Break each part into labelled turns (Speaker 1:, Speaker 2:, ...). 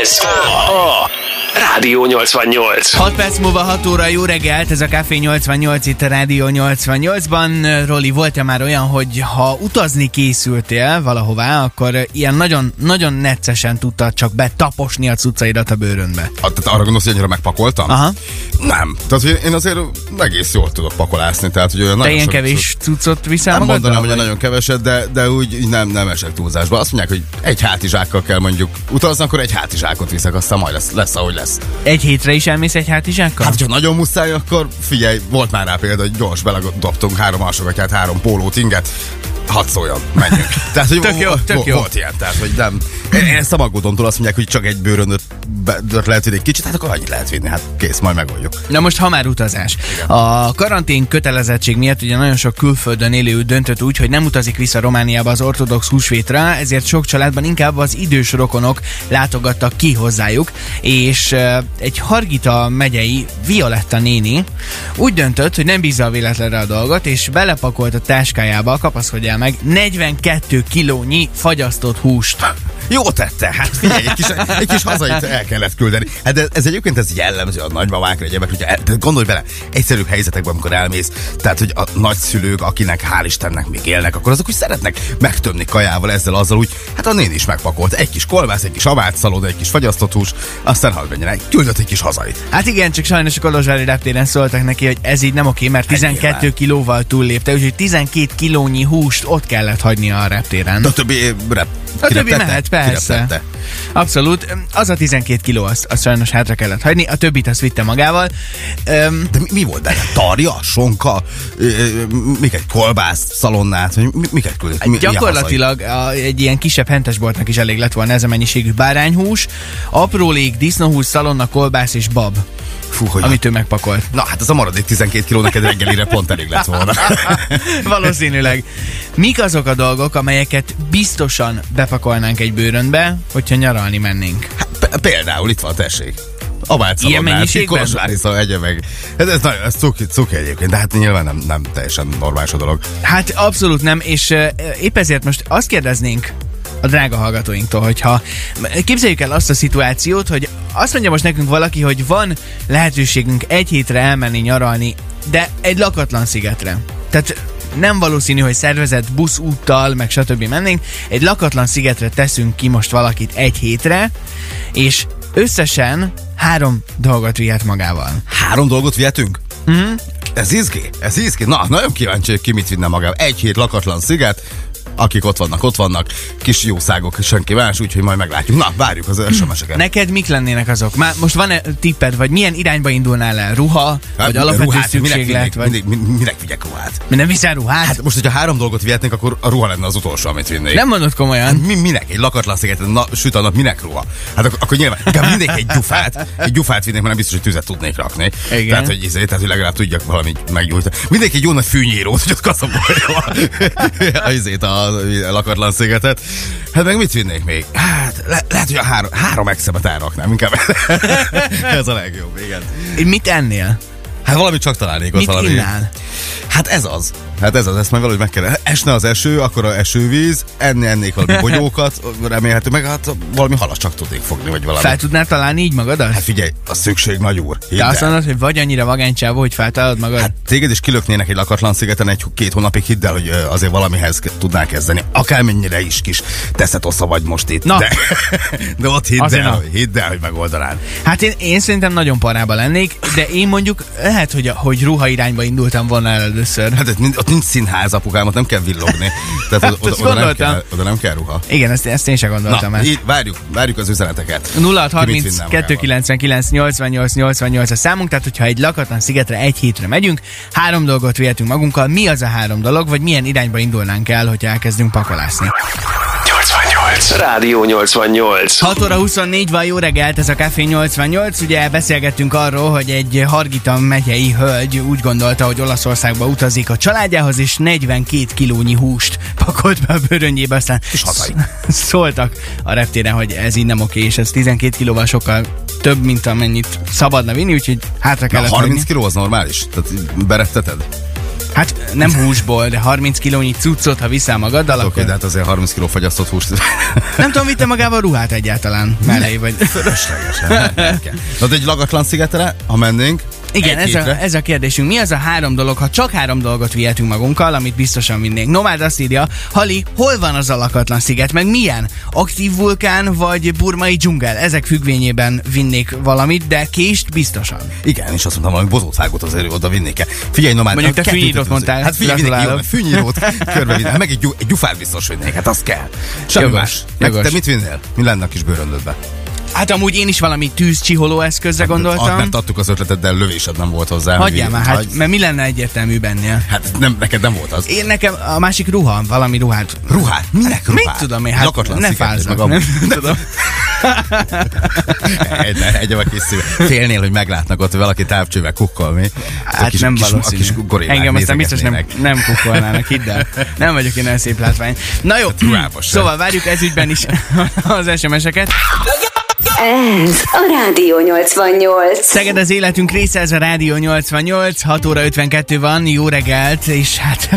Speaker 1: Ez a Rádió 88.
Speaker 2: 6 perc múlva 6 óra, jó reggelt, ez a Café 88 itt a Rádió 88-ban. Roli, volt-e már olyan, hogy ha utazni készültél valahová, akkor ilyen nagyon, nagyon neccesen tudtad csak betaposni a cuccaidat a bőrönbe?
Speaker 3: A, tehát arra gondolsz, hogy annyira megpakoltam?
Speaker 2: Aha.
Speaker 3: Nem. Tehát hogy én azért egész jól tudok pakolászni. Tehát, hogy olyan
Speaker 2: Te
Speaker 3: nagyon
Speaker 2: ilyen
Speaker 3: sok-
Speaker 2: kevés cuccot viszel
Speaker 3: Nem
Speaker 2: magaddal,
Speaker 3: mondanám, hogy
Speaker 2: vagy?
Speaker 3: nagyon keveset, de, de úgy így nem, nem esek túlzásba. Azt mondják, hogy egy hátizsákkal kell mondjuk utazni, akkor egy hátizsákot viszek, aztán majd lesz, lesz ahogy lesz.
Speaker 2: Egy hétre is elmész egy hátizsákkal?
Speaker 3: Hát, hogyha nagyon muszáj, akkor figyelj, volt már rá példa, hogy gyors beledobtunk három alsogatját, három pólót, inget, hadd szóljon, menjünk. Tehát, hogy
Speaker 2: Tök jó,
Speaker 3: vo-
Speaker 2: tök
Speaker 3: vo-
Speaker 2: jó.
Speaker 3: Volt ilyen, tehát, hogy nem. Én, én ezt szamagodomtól azt mondják, hogy csak egy bőrönöt be- dört lehet vinni egy kicsit, hát akkor annyit lehet vinni, hát kész, majd megoldjuk.
Speaker 2: Na most, ha már utazás. A karantén kötelezettség miatt ugye nagyon sok külföldön élő döntött úgy, hogy nem utazik vissza Romániába az ortodox húsvétra, ezért sok családban inkább az idős rokonok látogattak ki hozzájuk, és eh, egy Hargita megyei Violetta néni úgy döntött, hogy nem bízza a véletlenre a dolgot, és belepakolt a táskájába, kapaszkodjál meg, 42 kilónyi fagyasztott húst.
Speaker 3: Jó tette, hát figyelj, egy kis, egy kis hazait el kellett küldeni. Hát ez, ez egyébként ez jellemző a nagymamákra, egyébként, hogyha el, tehát gondolj bele, egyszerű helyzetekben, amikor elmész, tehát hogy a nagyszülők, akinek hál' Istennek még élnek, akkor azok úgy szeretnek megtömni kajával ezzel, azzal úgy, hát a néni is megpakolt. Egy kis kolbász, egy kis abátszalóda, egy kis fagyasztott hús, aztán hadd menjen el, küldött egy kis hazait.
Speaker 2: Hát igen, csak sajnos a Kolozsvári reptéren szóltak neki, hogy ez így nem oké, mert 12
Speaker 3: Hát nyilván.
Speaker 2: kilóval túllépte, úgyhogy 12 kilónyi húst ott kellett hagynia a reptéren.
Speaker 3: De a többi rep,
Speaker 2: A többi
Speaker 3: kireptette?
Speaker 2: mehet, persze.
Speaker 3: Kireptette.
Speaker 2: Abszolút. Az a 12 kiló, azt, azt sajnos hátra kellett hagyni, a többit azt vitte magával. Öm,
Speaker 3: De mi, mi volt benne? Tarja, sonka, ö, ö, mik egy kolbász, szalonnát, vagy mi- miket küldött? Mi- mi a hazai?
Speaker 2: Gyakorlatilag a, egy ilyen kisebb hentesboltnak is elég lett volna ez a mennyiségű bárányhús, aprólék, disznóhús, szalonna, kolbász és bab,
Speaker 3: Fú, hogy
Speaker 2: amit ő megpakolt.
Speaker 3: Na hát az a maradék 12 kiló neked reggelire pont elég lett volna. Hát,
Speaker 2: Valószínűleg. Mik azok a dolgok, amelyeket biztosan bepakolnánk egy bőrönbe, hogyha nyaralni mennénk?
Speaker 3: P- Például itt van, tessék. Abát
Speaker 2: Ilyen mennyiségben?
Speaker 3: Kolozsvári szó, egye meg. Ez, ez, nagyon, ez cuki, cuki egyébként, de hát nyilván nem, nem teljesen normális a dolog.
Speaker 2: Hát abszolút nem, és ö, épp ezért most azt kérdeznénk a drága hallgatóinktól, hogyha képzeljük el azt a szituációt, hogy azt mondja most nekünk valaki, hogy van lehetőségünk egy hétre elmenni nyaralni, de egy lakatlan szigetre. Tehát nem valószínű, hogy szervezett busz úttal, meg stb. mennénk. Egy lakatlan szigetre teszünk ki most valakit egy hétre, és összesen három dolgot vihet magával.
Speaker 3: Három dolgot vihetünk? Mm.
Speaker 2: Mhm.
Speaker 3: Ez izgé, ez izgé. Na, nagyon kíváncsi, hogy ki mit vinne magával. Egy hét lakatlan sziget, akik ott vannak, ott vannak, kis jószágok, senki más, úgyhogy majd meglátjuk. Na, várjuk az SMS-eket.
Speaker 2: Neked mik lennének azok? Már most van-e tipped, vagy milyen irányba indulnál el? Ruha,
Speaker 3: Hát,
Speaker 2: vagy alapvető
Speaker 3: ruhát,
Speaker 2: szükséglet,
Speaker 3: minek,
Speaker 2: vagy...
Speaker 3: minek, minek, minek vigyek ruhát?
Speaker 2: Mi nem viszel ruhát? Hát,
Speaker 3: Hát most, hogyha három dolgot vihetnénk, akkor a ruha lenne az utolsó, amit vinnék.
Speaker 2: nem mondod komolyan.
Speaker 3: Hát mi, minek? Egy lakatlan szigeten, na, süt a nap, minek ruha? Hát akkor, akkor nyilván, inkább mindenki egy gyufát, egy gyufát vinnék, mert nem biztos, hogy tüzet tudnék rakni.
Speaker 2: Igen.
Speaker 3: Tehát, hogy, izé, tehát, hogy legalább tudjak valamit meggyújtani. Mindenki egy jó nagy fűnyírót, hogy ott kaszabolja a, a, izét, a, a lakatlan szigetet. Hát meg mit vinnék még? Hát le, lehet, hogy a három, három exemet elraknám, inkább ez a legjobb, igen.
Speaker 2: Mit ennél?
Speaker 3: Hát valamit csak találnék ott
Speaker 2: Mit
Speaker 3: valami.
Speaker 2: innál?
Speaker 3: Hát ez az. Hát ez az, ezt majd valahogy meg kell. Esne az eső, akkor a esővíz, enni ennék valami bogyókat, remélhető, meg hát valami halas csak tudnék fogni, vagy valami.
Speaker 2: Fel tudnál találni így magadat?
Speaker 3: Hát figyelj, a szükség nagy úr. Hidd
Speaker 2: Te
Speaker 3: el.
Speaker 2: azt mondod, hogy vagy annyira vagánycsávó, hogy feltalálod magad?
Speaker 3: Hát téged is kilöknének egy lakatlan szigeten egy-két hónapig, hidd el, hogy ö, azért valamihez ke- tudnál kezdeni. Akármennyire is kis teszet osza vagy most itt.
Speaker 2: Na.
Speaker 3: De, de ott hidd
Speaker 2: Azért na.
Speaker 3: el, hidd el, hogy megoldanád.
Speaker 2: Hát én, én szerintem nagyon parába lennék, de én mondjuk lehet, hogy, a- hogy ruha irányba indultam volna el először.
Speaker 3: Hát ott nincs, ott nincs színház, apukám, ott nem kell villogni. Tehát oda,
Speaker 2: azt
Speaker 3: oda, oda, nem,
Speaker 2: Hát gondoltam.
Speaker 3: kell, oda nem kell ruha.
Speaker 2: Igen, ezt, ezt én sem gondoltam
Speaker 3: Na,
Speaker 2: el.
Speaker 3: így, várjuk, várjuk az üzeneteket. Ki mit
Speaker 2: 0630
Speaker 3: vinne magával?
Speaker 2: 299 88 88 a számunk, tehát hogyha egy lakatlan szigetre egy hétre megyünk, három dolgot vihetünk magunkkal, mi az a három dolog, vagy milyen irányba indulnánk el, hogyha elkezdünk pakolászni.
Speaker 1: 88. Rádió 88.
Speaker 2: 6 óra 24 van, jó reggelt, ez a Café 88. Ugye beszélgettünk arról, hogy egy Hargita megyei hölgy úgy gondolta, hogy Olaszországba utazik a családjához, és 42 kilónyi húst pakolt be a bőröngyébe, aztán
Speaker 3: És hazai.
Speaker 2: sz- szóltak a reptéren, hogy ez így nem oké, és ez 12 kilóval sokkal több, mint amennyit szabadna vinni, úgyhogy hátra
Speaker 3: Na,
Speaker 2: kellett
Speaker 3: 30
Speaker 2: hagyni.
Speaker 3: kiló az normális? Tehát berepteted?
Speaker 2: Hát nem húsból, de 30 kilónyi cuccot, ha viszel magaddal,
Speaker 3: Oké,
Speaker 2: akkor...
Speaker 3: de hát azért 30 kiló fagyasztott húst.
Speaker 2: Nem tudom, vitte magával ruhát egyáltalán mellé, vagy...
Speaker 3: Fölöslegesen. nem kell. Na de egy lagatlan szigetre, ha mennénk.
Speaker 2: Igen,
Speaker 3: egy
Speaker 2: ez a,
Speaker 3: hétre.
Speaker 2: ez a kérdésünk. Mi az a három dolog, ha csak három dolgot vihetünk magunkkal, amit biztosan vinnénk? Nomád azt írja, Hali, hol van az alakatlan sziget, meg milyen? Aktív vulkán vagy burmai dzsungel? Ezek függvényében vinnék valamit, de kést biztosan.
Speaker 3: Igen, és azt mondtam, valami bozótságot azért oda vinnék el. Figyelj, nomád.
Speaker 2: Mondjuk te
Speaker 3: kettőt
Speaker 2: fűnyírót
Speaker 3: ötvözünk.
Speaker 2: mondtál,
Speaker 3: Hát figyelj, mindenki jó,
Speaker 2: gratulálok.
Speaker 3: fűnyírót körbe vinnék. Hát Meg egy, gyú, egy gyufát biztos vinnék, hát az kell. Semmi
Speaker 2: Jogos,
Speaker 3: más. Meg
Speaker 2: jogos.
Speaker 3: te mit vinnél? Mi lenne a kis bőröndödbe?
Speaker 2: Hát amúgy én is valami tűzcsiholó eszközre
Speaker 3: Ad-
Speaker 2: gondoltam.
Speaker 3: Mert adtuk az ötletet, de lövésed nem volt hozzá.
Speaker 2: Hagyjál
Speaker 3: hogy-
Speaker 2: már, hát,
Speaker 3: Hagy-
Speaker 2: mert mi lenne egyértelmű bennél?
Speaker 3: Hát nem, neked nem volt az.
Speaker 2: Én nekem a másik ruha, valami ruhát.
Speaker 3: Ruhát? Minek ruhát?
Speaker 2: Mit tudom én, hát
Speaker 3: Lakatlan
Speaker 2: ne
Speaker 3: sziget,
Speaker 2: fáznak,
Speaker 3: meg
Speaker 2: nem
Speaker 3: amúgy.
Speaker 2: tudom.
Speaker 3: egy, egy a kis szíve. Félnél, hogy meglátnak ott, hogy valaki távcsővel kukkol, mi? A
Speaker 2: Hát
Speaker 3: kis,
Speaker 2: nem
Speaker 3: kis,
Speaker 2: valószínű.
Speaker 3: A kis gorillák
Speaker 2: Engem aztán biztos nem,
Speaker 3: nézegetnének.
Speaker 2: nem kukolnának, hidd el. Nem vagyok én olyan szép látvány. Na jó,
Speaker 3: ruhába sem.
Speaker 2: szóval várjuk ezügyben is az SMS-eket.
Speaker 4: Ez a Rádió 88.
Speaker 2: Szeged az életünk része, ez a Rádió 88, 6 óra 52 van, jó reggelt, és hát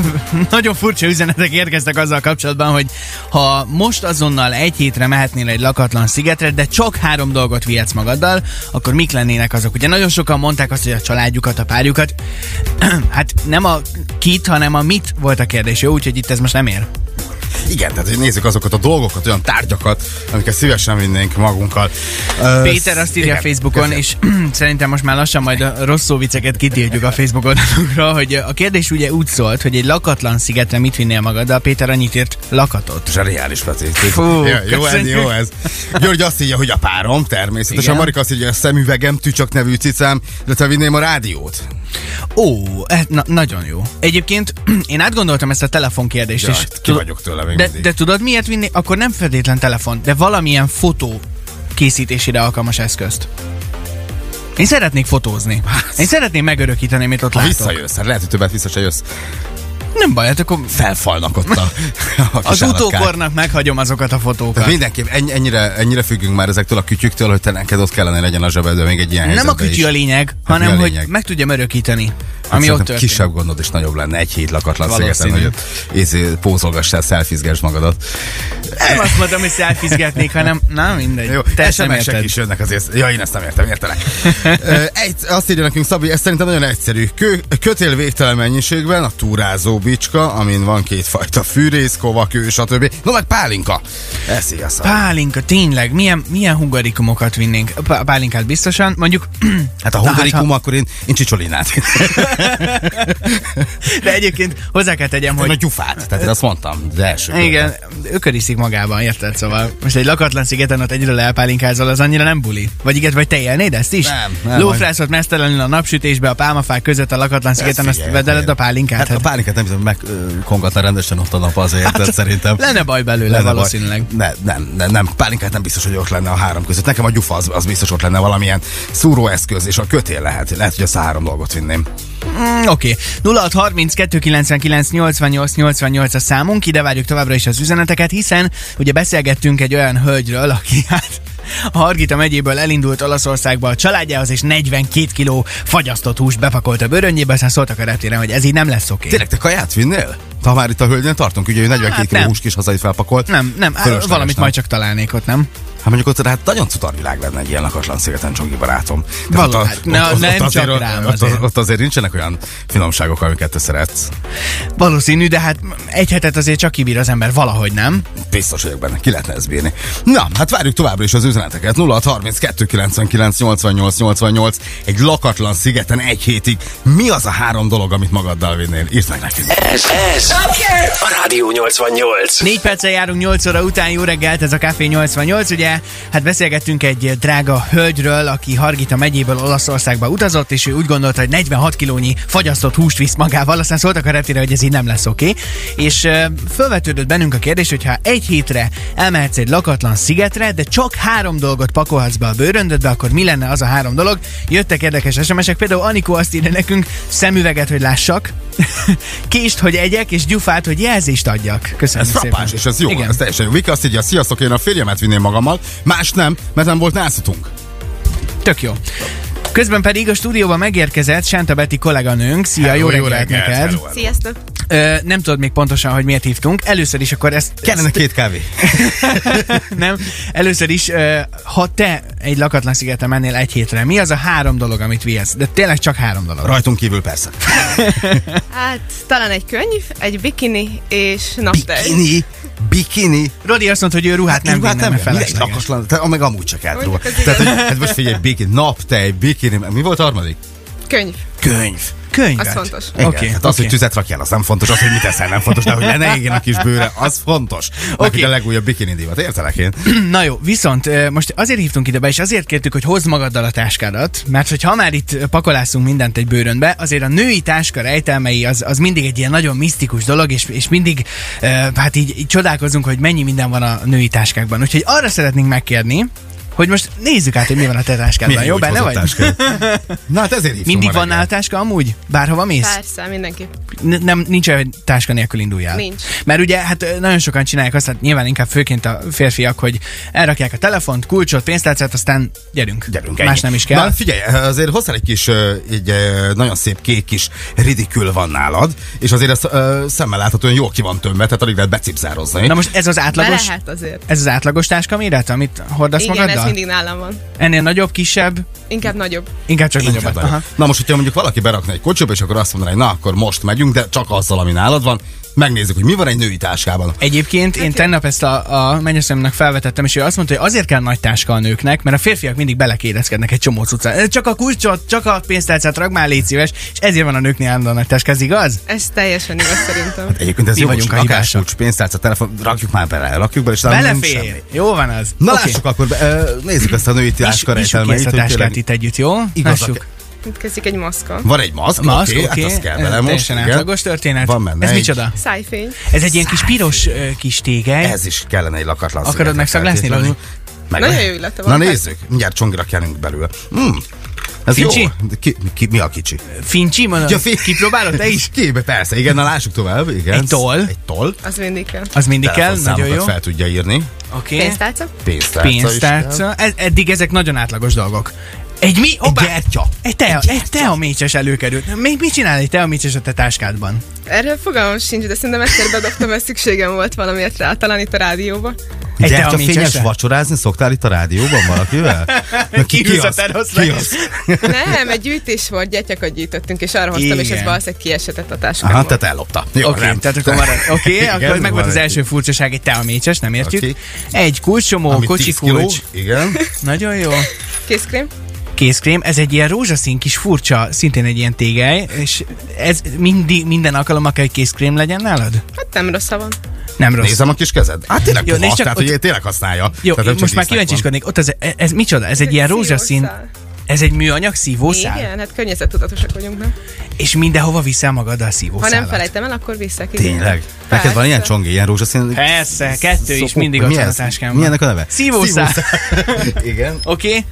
Speaker 2: nagyon furcsa üzenetek érkeztek azzal kapcsolatban, hogy ha most azonnal egy hétre mehetnél egy lakatlan szigetre, de csak három dolgot vihetsz magaddal, akkor mik lennének azok? Ugye nagyon sokan mondták azt, hogy a családjukat, a párjukat, hát nem a kit, hanem a mit volt a kérdés, jó? Úgyhogy itt ez most nem ér.
Speaker 3: Igen, tehát hogy nézzük azokat a dolgokat, olyan tárgyakat, amiket szívesen vinnénk magunkkal. Ö,
Speaker 2: Péter azt írja
Speaker 3: igen,
Speaker 2: Facebookon,
Speaker 3: köszönöm.
Speaker 2: és szerintem most már lassan majd a rossz szóviceket kitiltjuk a Facebook oldalunkra, hogy a kérdés ugye úgy szólt, hogy egy lakatlan szigetre mit vinnél magaddal, Péter annyit írt lakatot.
Speaker 3: Zseniális, Peti.
Speaker 2: Fú,
Speaker 3: Ja, jó, ez,
Speaker 2: köszönjük.
Speaker 3: jó ez. György azt írja, hogy a párom, természetesen.
Speaker 2: Igen.
Speaker 3: Igen. Marika azt írja, a szemüvegem, tücsök nevű cicám, illetve vinném a rádiót.
Speaker 2: Ó, eh, na, nagyon jó. Egyébként én átgondoltam ezt a telefonkérdést
Speaker 3: Jaj,
Speaker 2: is.
Speaker 3: hát ki vagyok tőle még
Speaker 2: de,
Speaker 3: mindig.
Speaker 2: de tudod miért vinni? Akkor nem feltétlen telefon, de valamilyen fotó készítésére alkalmas eszközt. Én szeretnék fotózni. Én szeretném megörökíteni, amit ott
Speaker 3: Hát. Ha
Speaker 2: látok.
Speaker 3: visszajössz, hát lehet, hogy többet vissza se jössz.
Speaker 2: Nem baj, hát akkor
Speaker 3: Felfalnak ott a, a kis
Speaker 2: az
Speaker 3: állatkák.
Speaker 2: utókornak meghagyom azokat a
Speaker 3: Tehát
Speaker 2: fotókat.
Speaker 3: mindenképp ennyi, ennyire, ennyire függünk már ezektől a kütyüktől, hogy te neked ott kellene legyen a zsebedben még egy ilyen
Speaker 2: Nem a
Speaker 3: helyzetben
Speaker 2: kütyű a
Speaker 3: is.
Speaker 2: lényeg,
Speaker 3: Hát mi
Speaker 2: hanem
Speaker 3: a
Speaker 2: hogy
Speaker 3: lényeg?
Speaker 2: meg tudjam örökíteni,
Speaker 3: Hát
Speaker 2: ami ott
Speaker 3: szerintem
Speaker 2: történt.
Speaker 3: kisebb gondod is nagyobb lenne egy hét lakatlan szigeten,
Speaker 2: Valószínű.
Speaker 3: hogy ott izé, pózolgassál, szelfizgess magadat.
Speaker 2: Nem azt mondom, hogy szelfizgetnék, hanem na mindegy.
Speaker 3: Jó,
Speaker 2: Te ezt nem
Speaker 3: SMS-ek
Speaker 2: érted.
Speaker 3: is jönnek azért. Ja, én ezt nem értem, értelek. Ö, egy, azt írja nekünk Szabi, ez szerintem nagyon egyszerű. Kö, kötél végtelen mennyiségben a túrázó bicska, amin van kétfajta fűrész, kovakő, stb. No, meg pálinka. Ez így a szar.
Speaker 2: Pálinka, tényleg, milyen, milyen hungarikumokat vinnénk? Pá- Pálinkát biztosan, mondjuk...
Speaker 3: Hát a
Speaker 2: Na,
Speaker 3: hungarikum,
Speaker 2: ha-
Speaker 3: akkor én, én csicsolinát.
Speaker 2: de egyébként hozzá kell tegyem,
Speaker 3: Hogy... A
Speaker 2: hogy...
Speaker 3: gyufát. Tehát én azt mondtam, az első.
Speaker 2: Igen, ököriszik magában, érted? Szóval most egy lakatlan szigeten ott egyről elpálinkázol, az annyira nem buli. Vagy igen, vagy te élnéd ezt is?
Speaker 3: Nem, nem,
Speaker 2: Lófrászott mesztelenül a napsütésbe, a pálmafák között a lakatlan szigeten, azt
Speaker 3: Hát figyelj,
Speaker 2: vedeled
Speaker 3: miért?
Speaker 2: a pálinkát.
Speaker 3: Hát a pálinkát nem hiszem, hogy megkongatna rendesen ott a nap azért, tehát szerintem.
Speaker 2: lenne baj belőle
Speaker 3: Lenne baj.
Speaker 2: valószínűleg.
Speaker 3: Ne, nem, nem, nem, pálinkát nem biztos, hogy ott lenne a három között. Nekem a gyufa az, az biztos ott lenne valamilyen szúróeszköz, és a kötél lehet. Lehet, hogy a három dolgot vinném.
Speaker 2: Mm, Oké, okay. 0632 99 88 88 a számunk, ide várjuk továbbra is az üzeneteket, hiszen ugye beszélgettünk egy olyan hölgyről, aki hát a Hargita megyéből elindult Olaszországba a családjához, és 42 kiló fagyasztott húst bepakolt a bőröngyébe, aztán szóltak a reptéren, hogy ez így nem lesz oké.
Speaker 3: Tényleg te kaját vinnél? Ha már itt a hölgynél tartunk, ugye ő 42
Speaker 2: Hát
Speaker 3: hát, kiló
Speaker 2: nem.
Speaker 3: húskis hazai felpakolt.
Speaker 2: Nem, nem, á,
Speaker 3: Fölösleges,
Speaker 2: valamit
Speaker 3: nem?
Speaker 2: majd csak találnék ott, nem?
Speaker 3: Hát mondjuk ott hát nagyon cutarvilág lenne egy ilyen lakatlan szigeten, Csogi barátom.
Speaker 2: Való,
Speaker 3: ott a-
Speaker 2: hát ne- nem csak
Speaker 3: azért,
Speaker 2: rám
Speaker 3: ott,
Speaker 2: azért.
Speaker 3: azért. ott azért nincsenek olyan finomságok, amiket te szeretsz.
Speaker 2: Valószínű, de hát egy hetet azért csak kibír az ember valahogy, nem?
Speaker 3: Biztos vagyok benne, ki lehetne ezt bírni. Na, hát várjuk továbbra is az üzeneteket. 0632 99 88 88 egy lakatlan szigeten egy hétig. Mi az a három dolog, amit magaddal vinnél? Írd meg nekünk.
Speaker 1: Ez, ez a Rádió 88.
Speaker 2: Négy perccel járunk 8 óra után, jó reggelt, ez a Café 88, ugye? Hát beszélgettünk egy drága hölgyről, aki Hargita megyéből Olaszországba utazott, és ő úgy gondolta, hogy 46 kilónyi fagyasztott húst visz magával, aztán szóltak a reptére, hogy ez így nem lesz oké. Okay. És ö, felvetődött bennünk a kérdés, hogy ha egy hétre elmehetsz egy lakatlan szigetre, de csak három dolgot pakolhatsz be a bőröndödbe, akkor mi lenne az a három dolog? Jöttek érdekes SMS-ek, például Anikó azt írja nekünk, szemüveget, hogy lássak, kést, hogy egyek, és gyufát, hogy jelzést adjak. Köszönöm.
Speaker 3: Ez
Speaker 2: Szépen.
Speaker 3: frappáns, és ez jó,
Speaker 2: Igen.
Speaker 3: ez teljesen jó. Vika azt írja, sziasztok, én a férjemet vinném magammal, más nem, mert nem volt nászutunk.
Speaker 2: Tök jó. Közben pedig a stúdióba megérkezett Sánta Beti kolléganőnk. Szia, jó, jó reggelt neked.
Speaker 3: hello, hello.
Speaker 5: Sziasztok!
Speaker 2: Ö, nem tudod még pontosan, hogy miért hívtunk. Először is akkor ezt...
Speaker 3: Kellene két kávé.
Speaker 2: nem. Először is, ö, ha te egy lakatlan szigeten mennél egy hétre, mi az a három dolog, amit vihetsz? De tényleg csak három dolog.
Speaker 3: Rajtunk kívül persze.
Speaker 5: Hát talán egy könyv, egy bikini és naptej.
Speaker 3: Bikini, bikini, Hát
Speaker 2: Rodi azt mondta, hogy ő ruhát hát nem vinne, mert
Speaker 3: mindegy,
Speaker 2: felesleges.
Speaker 3: lakoslan, te, meg amúgy csak eltról.
Speaker 5: Mondjuk az
Speaker 3: Tehát, hogy, hát most figyelj, bikini, naptej, bikini, mi volt a harmadik?
Speaker 5: Könyv,
Speaker 3: Könyv.
Speaker 2: Könyvet.
Speaker 5: az fontos.
Speaker 3: Igen,
Speaker 2: Oké,
Speaker 3: okay, hát az,
Speaker 2: oké.
Speaker 3: hogy tüzet rakjál, az nem fontos, az, hogy mit eszel, nem fontos, de hogy le ne égjen a kis bőre, az fontos. Oké.
Speaker 2: Oké.
Speaker 3: Okay. a legújabb bikini divat, értelek én.
Speaker 2: Na jó, viszont ö, most azért hívtunk ide be, és azért kértük, hogy hozd magaddal a táskádat, mert hogy ha már itt pakolászunk mindent egy bőrönbe, azért a női táska rejtelmei az, az mindig egy ilyen nagyon misztikus dolog, és, és mindig ö, hát így, így csodálkozunk, hogy mennyi minden van a női táskákban. Úgyhogy arra szeretnénk megkérni, hogy most nézzük át, hogy mi van a te táskádban.
Speaker 3: Milyen
Speaker 2: Jó,
Speaker 3: jó, hogy
Speaker 2: benne
Speaker 3: hozott
Speaker 2: vagy?
Speaker 3: táskád. Na hát ezért hívtunk
Speaker 2: Mindig
Speaker 3: ma
Speaker 2: van
Speaker 3: reggel.
Speaker 2: nála táska amúgy? Bárhova mész?
Speaker 5: Persze, mindenki.
Speaker 2: N- nem, nincs olyan, hogy táska nélkül induljál.
Speaker 5: Nincs.
Speaker 2: Mert ugye, hát ö, nagyon sokan csinálják azt, hát nyilván inkább főként a férfiak, hogy elrakják a telefont, kulcsot, pénztárcát, aztán gyerünk.
Speaker 3: Gyerünk
Speaker 2: Más
Speaker 3: ennyi.
Speaker 2: nem is kell.
Speaker 3: Na figyelj, azért hozzá egy kis, ö, egy ö, nagyon szép kék kis ridikül van nálad, és azért ezt ö, szemmel láthatóan jól ki van tömve, tehát alig lehet becipzározni.
Speaker 2: Na most ez az
Speaker 5: Be
Speaker 2: átlagos,
Speaker 5: lehet azért.
Speaker 2: ez az átlagos táska méret, amit hordasz
Speaker 5: Igen,
Speaker 2: magaddal?
Speaker 5: ez mindig nálam van.
Speaker 2: Ennél nagyobb, kisebb,
Speaker 5: Inkább nagyobb.
Speaker 2: inkább csak
Speaker 3: Inkább
Speaker 2: nagyobbat.
Speaker 3: nagyobb.
Speaker 2: Aha.
Speaker 3: Na most, hogyha mondjuk valaki berakna egy kocsiba, és akkor azt mondaná, hogy na, akkor most megyünk, de csak azzal, ami nálad van, megnézzük, hogy mi van egy női táskában.
Speaker 2: Egyébként én tegnap ezt a, a mennyasszonyomnak felvetettem, és ő azt mondta, hogy azért kell nagy táska a nőknek, mert a férfiak mindig belekérezkednek egy csomó cuccát. Csak a kulcsot, csak a pénztárcát rakd már, légy szíves, és ezért van a nőknél állandóan nagy táska, ez igaz?
Speaker 5: Ez teljesen igaz szerintem.
Speaker 3: Egyébként ez
Speaker 2: Mi
Speaker 3: jó,
Speaker 2: vagyunk
Speaker 3: hogy
Speaker 2: a
Speaker 3: akár
Speaker 2: hibások.
Speaker 3: kulcs, pénztárca, telefon, rakjuk már bele, rakjuk bele, és talán nincs semmi.
Speaker 2: Belefér. Jó van az.
Speaker 3: Na
Speaker 2: Oké.
Speaker 3: lássuk akkor, be, ö, nézzük ezt a női
Speaker 2: Viss-
Speaker 3: táska
Speaker 2: Vissuk ki
Speaker 3: rejtelmeit,
Speaker 2: ezt a
Speaker 3: hogy
Speaker 2: táskát
Speaker 3: tényleg
Speaker 2: itt együtt, jó?
Speaker 3: igazak-
Speaker 2: Lássuk.
Speaker 5: Ütközik egy maszka.
Speaker 3: van egy maszk,
Speaker 2: Maszk,
Speaker 3: oké,
Speaker 2: oké,
Speaker 3: hát az kell
Speaker 2: ez
Speaker 3: bele most.
Speaker 2: teljesen
Speaker 3: igen.
Speaker 2: átlagos történet.
Speaker 3: Van benne
Speaker 2: Ez
Speaker 3: egy-
Speaker 2: micsoda?
Speaker 5: Szájfény.
Speaker 2: Ez egy ilyen kis piros ö, kis tégely.
Speaker 3: Ez is kellene egy lakatlan
Speaker 2: Akarod
Speaker 3: szigetnek
Speaker 2: megszaglászni, Lani?
Speaker 3: feltétlenül. Meg
Speaker 5: Nagyon jó illata
Speaker 3: Na
Speaker 5: van.
Speaker 3: nézzük, mindjárt csongira kerünk belőle. Mm. Ez
Speaker 2: Kicsi?
Speaker 3: jó. De Ki, ki, mi a kicsi?
Speaker 2: Fincsi, mondod?
Speaker 3: Ja, fi-
Speaker 2: Kipróbálod te is?
Speaker 3: Ki, persze, igen, na lássuk tovább. Igen.
Speaker 2: Egy toll.
Speaker 3: Egy toll.
Speaker 5: Az mindig kell.
Speaker 2: Az mindig kell, nagyon
Speaker 3: Telefonszámokat
Speaker 2: jó.
Speaker 3: fel tudja írni.
Speaker 2: Oké.
Speaker 5: Pénztárca?
Speaker 3: Pénztárca. is kell.
Speaker 2: Pénztárca. Ez, eddig ezek nagyon átlagos dolgok. Egy mi? Hoppá!
Speaker 3: Egy gyertya.
Speaker 2: Egy, te, egy, te a mécses előkerült. Még mit csinál egy te a mécses a te táskádban?
Speaker 5: Erről fogalmam sincs, de szerintem egyszer bedobtam, mert szükségem volt valamiért rá, talán itt a rádióba.
Speaker 2: Egy te a
Speaker 3: Gyertyafényes
Speaker 2: mécsesre?
Speaker 3: vacsorázni szoktál itt a rádióban valakivel? Na,
Speaker 2: Kiülsz a
Speaker 3: az?
Speaker 2: teraszra.
Speaker 3: Ki az?
Speaker 5: Nem, egy gyűjtés volt, gyertyakat gyűjtöttünk, és arra hoztam, és
Speaker 2: Igen.
Speaker 5: ez valószínűleg kiesett a táskámból.
Speaker 3: Aha, tehát ellopta. Jó,
Speaker 2: Oké,
Speaker 3: nem.
Speaker 2: tehát akkor marad. Oké,
Speaker 3: Igen,
Speaker 2: akkor meg volt
Speaker 3: van
Speaker 2: az
Speaker 3: egy-
Speaker 2: első furcsaság, egy te a mécses, nem értjük.
Speaker 3: Oké.
Speaker 2: Egy kulcsomó,
Speaker 3: Ami
Speaker 2: kocsi
Speaker 3: 10 kiló.
Speaker 2: kulcs.
Speaker 3: Igen.
Speaker 2: Nagyon jó.
Speaker 5: Készkrém?
Speaker 2: kézkrém, ez egy ilyen rózsaszín kis furcsa, szintén egy ilyen tégely, és ez mindig, minden alkalommal kell, hogy kézkrém legyen nálad?
Speaker 5: Hát nem rossz ha van.
Speaker 2: Nem rossz.
Speaker 3: Nézem a kis kezed. Hát tényleg
Speaker 2: Jó,
Speaker 3: jó,
Speaker 2: nézd
Speaker 3: puha,
Speaker 2: csak,
Speaker 3: tehát
Speaker 2: ott-
Speaker 3: hogy tényleg használja.
Speaker 2: Jó,
Speaker 3: tehát nem csak
Speaker 2: most már
Speaker 3: dísznek van.
Speaker 2: kíváncsiskodnék, ott ez, ez, ez micsoda? Ez egy ilyen rózsaszín,
Speaker 5: szívószál.
Speaker 2: ez egy műanyag szívószál,
Speaker 5: Igen, hát környezettudatosak vagyunk, nem?
Speaker 2: és mindenhova viszel magaddal a
Speaker 5: Ha
Speaker 2: szívószálat.
Speaker 5: nem felejtem el, akkor viszek. igen.
Speaker 3: Tényleg? Neked van
Speaker 5: Persze.
Speaker 3: ilyen csongi, ilyen rózsaszín? Szóval,
Speaker 2: Persze, kettő is mindig ott
Speaker 3: Mi
Speaker 2: van a
Speaker 3: ez?
Speaker 2: táskámban.
Speaker 3: Mi ennek a neve?
Speaker 2: Szívószál.
Speaker 3: Szívószál. Igen.
Speaker 2: Oké?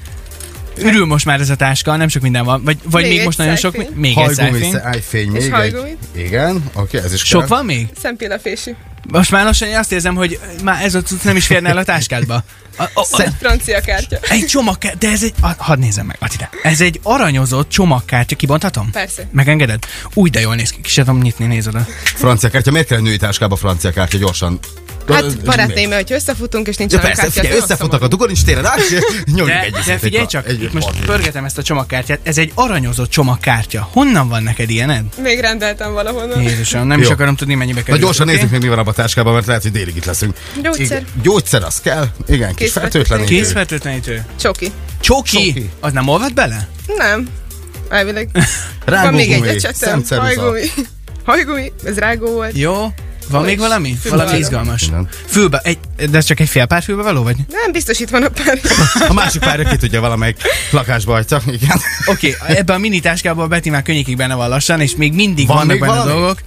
Speaker 2: Ürül most már ez a táska, nem sok minden van. Vagy, vagy még,
Speaker 5: Még egy
Speaker 2: most nagyon sok,
Speaker 5: szájfény.
Speaker 2: még egy
Speaker 3: Hajgumi,
Speaker 2: szájfény.
Speaker 3: szájfény,
Speaker 5: És
Speaker 3: még egy.
Speaker 5: hajgumi?
Speaker 3: Igen, oké, ez is
Speaker 2: Sok
Speaker 3: kell.
Speaker 2: van még?
Speaker 5: Szempillafési.
Speaker 2: Most már lassan én azt érzem, hogy már ez a cucc nem is férne el a táskádba. A, a, a,
Speaker 5: Francia kártya.
Speaker 2: Egy csomagkártya, de ez egy... a- Hadd nézem meg, Attila. Ez egy aranyozott csomagkártya, kibonthatom?
Speaker 5: Persze.
Speaker 2: Megengeded? Úgy de jól néz ki, ki sem tudom nyitni, nézd oda.
Speaker 3: Francia kártya, miért kell a női táskába francia kártya gyorsan? Ö,
Speaker 5: Hát barátnőimmel, hogy összefutunk, és nincs
Speaker 3: Ja,
Speaker 5: olyan
Speaker 3: persze,
Speaker 5: kártya.
Speaker 3: figyelj,
Speaker 5: akkor
Speaker 3: összefutnak a
Speaker 5: rosszabban.
Speaker 3: dugor, nincs téren át, és nyomjuk
Speaker 2: De,
Speaker 3: egy
Speaker 2: de
Speaker 3: viszont
Speaker 2: figyelj
Speaker 3: egy-
Speaker 2: csak,
Speaker 3: egy-
Speaker 2: itt most
Speaker 3: partnert.
Speaker 2: pörgetem ezt a csomagkártyát, ez egy aranyozott csomagkártya. Honnan van neked ilyened?
Speaker 5: Még rendeltem valahonnan.
Speaker 2: Jézusom, nem is
Speaker 3: Jó.
Speaker 2: akarom tudni, mennyibe kerül.
Speaker 3: Na gyorsan
Speaker 2: oké?
Speaker 3: nézzük még, mi van abban a táskában, mert lehet, hogy délig itt leszünk.
Speaker 5: Gyógyszer.
Speaker 3: Igen, Gyógyszer, az kell. Igen, kis
Speaker 5: Készfertőtlenítő.
Speaker 3: fertőtlenítő.
Speaker 2: Kézfertőtlenítő.
Speaker 5: Csoki.
Speaker 2: Csoki.
Speaker 3: Csoki.
Speaker 2: Az nem olvad bele?
Speaker 5: Nem. Elvileg. Van még egy
Speaker 3: Rágógumi,
Speaker 5: ecsetem.
Speaker 3: szemceruza.
Speaker 5: Hajgumi. Hajgumi. Ez rágó volt.
Speaker 2: Jó. Van
Speaker 5: Ó,
Speaker 2: még
Speaker 5: és
Speaker 2: valami?
Speaker 5: fülbe
Speaker 2: Valami
Speaker 5: való.
Speaker 2: izgalmas.
Speaker 3: Igen.
Speaker 2: Fülbe, egy, de ez csak egy fél pár fülbe való vagy?
Speaker 5: Nem, biztos itt van a pár.
Speaker 3: A másik párja ki tudja valamelyik lakásba hagyta. Igen.
Speaker 2: Oké, okay, ebben a mini táskában a Betty már könnyékig benne van lassan, és még mindig
Speaker 3: Van
Speaker 2: vannak
Speaker 3: még
Speaker 2: benne
Speaker 3: valami?
Speaker 2: dolgok.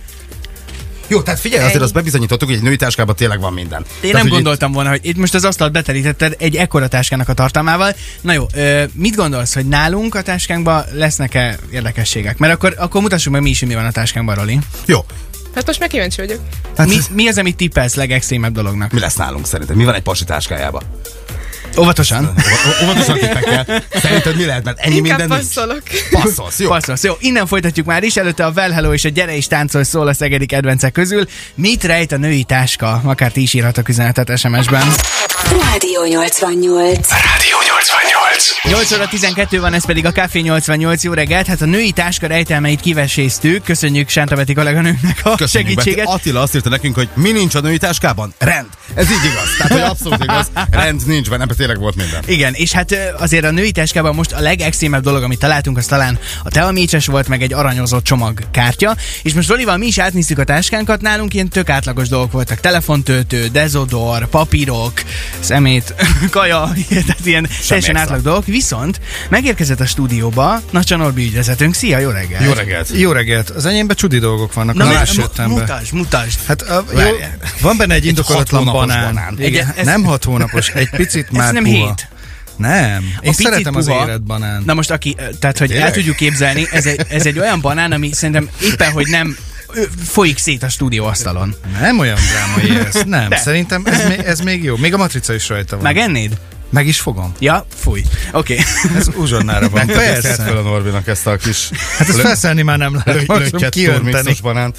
Speaker 3: Jó, tehát figyelj, azért
Speaker 5: Ennyi.
Speaker 3: azt bebizonyítottuk, hogy egy női táskában tényleg van minden.
Speaker 2: Én
Speaker 3: tehát,
Speaker 2: nem
Speaker 3: hogy
Speaker 2: gondoltam volna, hogy itt most az asztalt beterítetted egy ekkora táskának a tartalmával. Na jó, ö, mit gondolsz, hogy nálunk a táskánkban lesznek-e érdekességek? Mert akkor, akkor mutassuk meg mi is, hogy mi van a táskánkban, Roli.
Speaker 3: Itt... Jó.
Speaker 5: Hát most már kíváncsi vagyok.
Speaker 3: Hát
Speaker 2: Mi,
Speaker 3: mi?
Speaker 2: mi az, amit tippelsz legextrémebb dolognak?
Speaker 3: mi lesz nálunk szerintem? Mi van egy pasi táskájában?
Speaker 2: Óvatosan.
Speaker 3: Ó- Óvatosan a tippekkel. Szerinted mi lehet? Mert ennyi
Speaker 5: Inkább
Speaker 3: minden nincs.
Speaker 5: passzolok.
Speaker 3: Passzolsz, jó?
Speaker 2: Passzolsz. Jó, innen folytatjuk már is. Előtte a Well Hello és a Gyere és táncol szól a szegedi kedvencek közül. Mit rejt a női táska? Akár ti is írhatok üzenetet SMS-ben.
Speaker 4: Rádió 88.
Speaker 1: Rádió 88.
Speaker 2: 8 óra 12 van, ez pedig a Café 88. Jó reggelt. Hát a női táska rejtelmeit kiveséztük. Köszönjük Sánta Beti kolléganőnknek a
Speaker 3: Köszönjük,
Speaker 2: segítséget.
Speaker 3: Beti. Attila azt írta nekünk, hogy mi nincs a női táskában? Rend. Ez így igaz. Tehát, hogy abszolút igaz. Rend nincs benne, mert tényleg volt minden.
Speaker 2: Igen, és hát ö, azért a női táskában most a legextrémebb dolog, amit találtunk, az talán a teamécses volt, meg egy aranyozott csomagkártya. És most Rolival mi is átnéztük a táskánkat, nálunk ilyen tök átlagos dolgok voltak. Telefontöltő, dezodor, papírok, szemét, kaja, tehát ilyen teljesen
Speaker 3: extra.
Speaker 2: átlag dolgok. Viszont megérkezett a stúdióba Nacsa Norbi ügyvezetőnk. Szia, jó reggelt!
Speaker 3: Jó reggelt.
Speaker 6: Jó reggelt! Az enyémben csudi dolgok vannak, Na,
Speaker 2: Na,
Speaker 6: nem
Speaker 2: mert-
Speaker 6: is
Speaker 2: mu-
Speaker 6: jöttem be.
Speaker 2: mutasd, mutasd!
Speaker 6: Hát a, jó,
Speaker 3: Várjál.
Speaker 6: van benne egy indokolatlan
Speaker 3: hat hónapos
Speaker 6: banán.
Speaker 3: banán.
Speaker 6: Igen,
Speaker 2: Egy- ez-
Speaker 6: ez... Nem hat hónapos, egy picit már
Speaker 2: nem
Speaker 6: puha.
Speaker 2: hét.
Speaker 6: Nem, én
Speaker 2: picit
Speaker 6: szeretem
Speaker 2: puha.
Speaker 6: az érett banánt.
Speaker 2: Na most aki, tehát hogy el
Speaker 3: Tényleg?
Speaker 2: tudjuk képzelni, ez egy, ez egy olyan banán, ami szerintem éppen, hogy nem ő, folyik szét a stúdióasztalon.
Speaker 6: Nem olyan drámai ez, nem.
Speaker 2: De.
Speaker 6: Szerintem ez, még- ez még jó. Még a matrica is rajta van.
Speaker 2: Megennéd?
Speaker 6: Meg is fogom.
Speaker 2: Ja, fúj. Oké. Okay.
Speaker 6: Ez uzsonnára van.
Speaker 3: Persze. fel
Speaker 6: Persze.
Speaker 3: a Norbinak ezt a kis
Speaker 6: Hát ezt felszállni már nem lehet. Maximum kiönteni.
Speaker 3: turmixos banánt.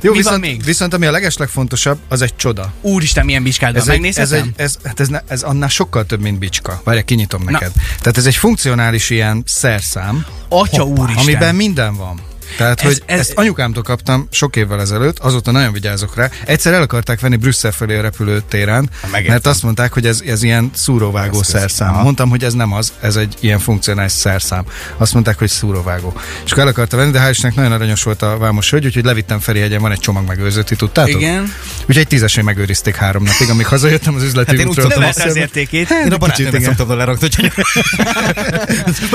Speaker 6: Jó,
Speaker 2: Mi van
Speaker 6: viszont,
Speaker 2: még?
Speaker 6: viszont ami a legeslegfontosabb, az egy csoda.
Speaker 2: Úristen, milyen bicskáddal
Speaker 6: Ez, egy, ez,
Speaker 2: megnézhetem?
Speaker 6: egy, ez, hát ez, ne, ez annál sokkal több, mint bicska. Várjál, kinyitom
Speaker 2: Na.
Speaker 6: neked. Tehát ez egy funkcionális ilyen szerszám,
Speaker 2: Atya úristen.
Speaker 6: amiben minden van. Tehát,
Speaker 2: Ez-
Speaker 6: ez, hogy
Speaker 2: ez-
Speaker 6: ez, ezt anyukámtól kaptam sok évvel ezelőtt, azóta nagyon vigyázok rá. Egyszer el akarták venni Brüsszel felé a repülőtéren,
Speaker 3: megértem.
Speaker 6: mert azt mondták, hogy ez, ez ilyen szúróvágó
Speaker 3: Eszköz.
Speaker 6: szerszám.
Speaker 3: Aha.
Speaker 6: Mondtam, hogy ez nem az, ez egy ilyen funkcionális szerszám. Azt mondták, hogy szúróvágó. És akkor el akarta venni, de hál' Istennek nagyon aranyos volt a vámos hölgy, úgyhogy levittem Ferihegyen, van egy csomag megőrző, ti tudtátok?
Speaker 2: Igen.
Speaker 6: Úgyhogy egy tízesén megőrizték három napig, amíg hazajöttem az üzleti
Speaker 3: Hát én úgy
Speaker 6: útról.
Speaker 3: tudom,
Speaker 6: a
Speaker 2: Növelte az
Speaker 6: masszörbe.
Speaker 2: értékét.
Speaker 6: Hát,
Speaker 3: Én a
Speaker 6: kicsit
Speaker 3: barátnőmet
Speaker 6: igen.
Speaker 3: szoktam oda lerakni, hogy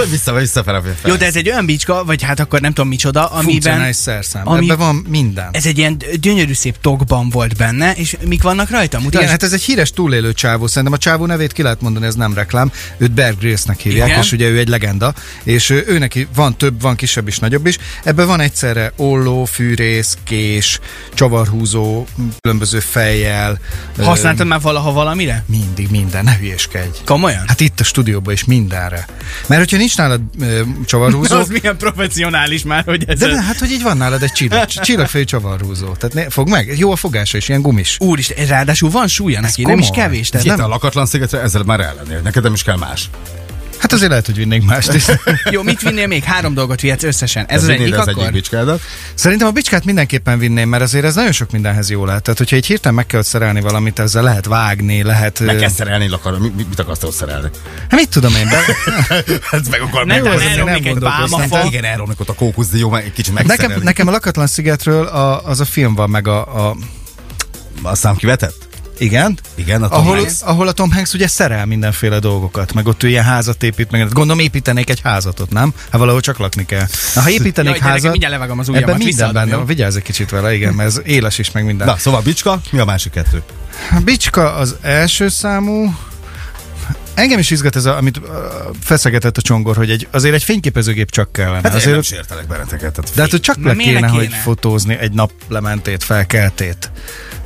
Speaker 3: vissza, vissza fel a fel.
Speaker 2: Jó, de ez egy olyan bicska, vagy hát akkor nem tudom micsoda, amiben...
Speaker 6: Funkcionális szerszám.
Speaker 2: ami-
Speaker 6: Ebben van minden.
Speaker 2: Ez egy ilyen gyönyörű szép tokban volt benne, és mik vannak rajta? Mutasd.
Speaker 6: Igen, hát ez egy híres túlélő csávó, szerintem a csávó nevét ki lehet mondani, ez nem reklám. Őt Bear Grylls-nek hívják,
Speaker 2: Igen.
Speaker 6: és ugye ő egy legenda, és ő, ő neki van több, van kisebb is, nagyobb is. Ebben van egyszerre olló, fűrész, kés, csavarhúzó, különböző fejjel.
Speaker 2: Használtad már valaha valamire?
Speaker 6: Ö, mindig minden, ne hülyéskedj.
Speaker 2: Komolyan?
Speaker 6: Hát itt a stúdióban is mindenre. Mert hogyha nincs nálad ö, csavarhúzó,
Speaker 2: az milyen professzionális már, hogy ez...
Speaker 6: de, de hát, hogy így van nálad egy csillag, csillagfejű csavarhúzó. Tehát ne, fog meg, jó a fogása is, ilyen gumis.
Speaker 2: Úristen, ez ráadásul van súlya neki, nem is
Speaker 6: komoly.
Speaker 2: kevés. Tehát
Speaker 3: Ez
Speaker 2: nem,
Speaker 3: nem a lakatlan szigetre, ezzel már ellennél. Neked nem is kell más.
Speaker 6: Hát azért lehet, hogy vinnénk mást is.
Speaker 2: Jó, mit vinnél még? Három dolgot vihetsz összesen. Ez,
Speaker 3: Ez
Speaker 2: az egyik
Speaker 3: az
Speaker 2: akkor?
Speaker 3: egyik bicskádat.
Speaker 6: Szerintem a bicskát mindenképpen vinném, mert azért ez nagyon sok mindenhez jó lehet. Tehát, hogyha egy hirtelen meg kell szerelni valamit, ezzel lehet vágni, lehet...
Speaker 3: Meg
Speaker 6: ö,
Speaker 3: kell szerelni lakar. Mi- mi- Mit akarsz ott szerelni?
Speaker 6: Hát mit tudom én, be...
Speaker 3: Ez Hát meg akar
Speaker 2: Nem,
Speaker 6: Jó,
Speaker 2: nem,
Speaker 6: ez nem
Speaker 2: elromlik egy
Speaker 6: gondolkoztam.
Speaker 2: pálmafa.
Speaker 3: Igen, elromlik ott a kókuszdió, meg egy kicsit megszerelni.
Speaker 6: nekem, nekem a lakatlan szigetről a, az a film van meg a... a...
Speaker 3: Aztán kivetett?
Speaker 6: Igen?
Speaker 3: Igen, a Tom
Speaker 6: Ahol,
Speaker 3: Hanks.
Speaker 6: ahol a Tom Hanks ugye szerel mindenféle dolgokat, meg ott ő ilyen házat épít, meg gondolom építenék egy házat ott, nem? Hát valahol csak lakni kell. Na, ha építenék
Speaker 2: Jaj, gyerekek,
Speaker 6: házat,
Speaker 2: mindjárt levágom az ujjamat,
Speaker 6: ebben minden
Speaker 2: visszaadom,
Speaker 6: benne
Speaker 2: jó?
Speaker 6: van, vigyázz egy kicsit vele, igen, mert ez éles is, meg minden.
Speaker 3: Na, szóval bicska, mi a másik kettő?
Speaker 6: A Bicska az első számú. Engem is izgat ez, a, amit uh, feszegetett a csongor, hogy egy, azért egy fényképezőgép csak kellene.
Speaker 3: Hát én
Speaker 6: azért,
Speaker 3: nem sértelek benneteket. Tehát
Speaker 6: de hát, hogy csak
Speaker 2: Na,
Speaker 6: le
Speaker 2: miért
Speaker 6: kéne,
Speaker 2: ne
Speaker 6: kéne, hogy
Speaker 2: kéne?
Speaker 6: fotózni egy naplementét, felkeltét.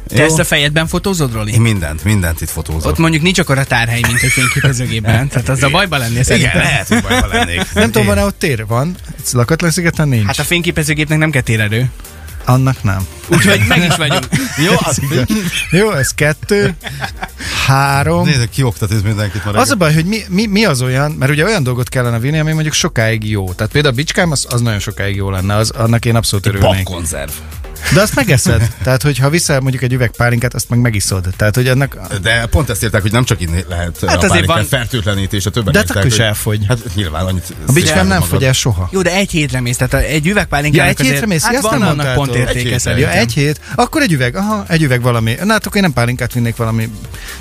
Speaker 2: Te ezt a fejedben fotózod, Roli?
Speaker 3: Én mindent, mindent itt fotózok.
Speaker 2: Ott mondjuk nincs akkor a tárhely, mint egy fényképezőgépben. Tehát az a bajba lennél
Speaker 3: Igen,
Speaker 2: szerintem.
Speaker 3: lehet, hogy bajban lennék.
Speaker 6: Nem tudom, van-e ott tér? Van? Itt lakatlan szigeten nincs?
Speaker 2: Hát a fényképezőgépnek nem kell térerő.
Speaker 6: Annak nem.
Speaker 2: Úgyhogy meg is vagyunk.
Speaker 3: Jó, az
Speaker 6: Jó, ez kettő, három.
Speaker 3: Nézzük, kioktatott mindenkit már.
Speaker 6: Az a baj, hogy mi, mi, mi, az olyan, mert ugye olyan dolgot kellene vinni, ami mondjuk sokáig jó. Tehát például a bicskám, az, az nagyon sokáig jó lenne, az, annak én abszolút örülnék.
Speaker 3: Papkonzerv.
Speaker 6: De azt megeszed. Tehát, hogyha viszel mondjuk egy üveg pálinkát, azt meg megiszod. Tehát, hogy annak...
Speaker 3: De pont ezt írták, hogy nem csak inni lehet hát a
Speaker 2: azért
Speaker 3: azért van...
Speaker 2: van-
Speaker 3: fertőtlenítés, a többen
Speaker 6: De
Speaker 3: írták,
Speaker 6: akkor is
Speaker 3: hogy-
Speaker 6: elfogy.
Speaker 3: Hát nyilván annyit...
Speaker 6: A bicskám nem fogy el soha.
Speaker 2: Jó, de egy hétre mész. Tehát egy
Speaker 6: Ja,
Speaker 2: üvegpálinkának
Speaker 6: egy hétre mész?
Speaker 2: Hát
Speaker 6: Ja, azt
Speaker 2: van
Speaker 6: nem
Speaker 2: annak
Speaker 6: mondtátok.
Speaker 2: pont
Speaker 6: Egy
Speaker 2: értéke
Speaker 3: hétre.
Speaker 6: Ja,
Speaker 2: szerintem.
Speaker 6: egy hét. Akkor egy üveg. Aha, egy üveg valami. Na, hát akkor én nem pálinkát vinnék valami,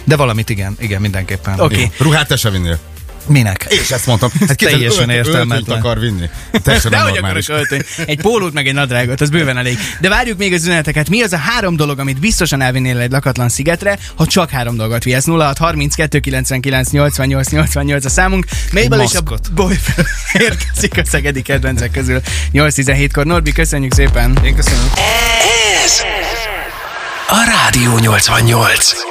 Speaker 6: de valamit igen, igen, mindenképpen.
Speaker 2: Oké.
Speaker 3: Okay. Ruhát te sem vinnél.
Speaker 6: Minek?
Speaker 3: És ezt mondtam. Hát
Speaker 6: Teljesen
Speaker 3: képzeld, ölt-
Speaker 6: értelmetlen.
Speaker 3: öltönyt akar vinni. Te sem
Speaker 2: De
Speaker 3: nem
Speaker 2: hogy akarok
Speaker 3: normális.
Speaker 2: öltöny? Egy pólót meg egy nadrágot, az bőven elég. De várjuk még az üzeneteket. Mi az a három dolog, amit biztosan elvinnél egy lakatlan szigetre, ha csak három dolgot vihetsz? 06 32 99 88 88 a számunk. Mabel és a
Speaker 6: maszkot.
Speaker 2: boyfriend érkezik a szegedi kedvencek közül 8-17-kor. Norbi, köszönjük szépen.
Speaker 6: Én köszönöm.
Speaker 1: Ez a Rádió 88.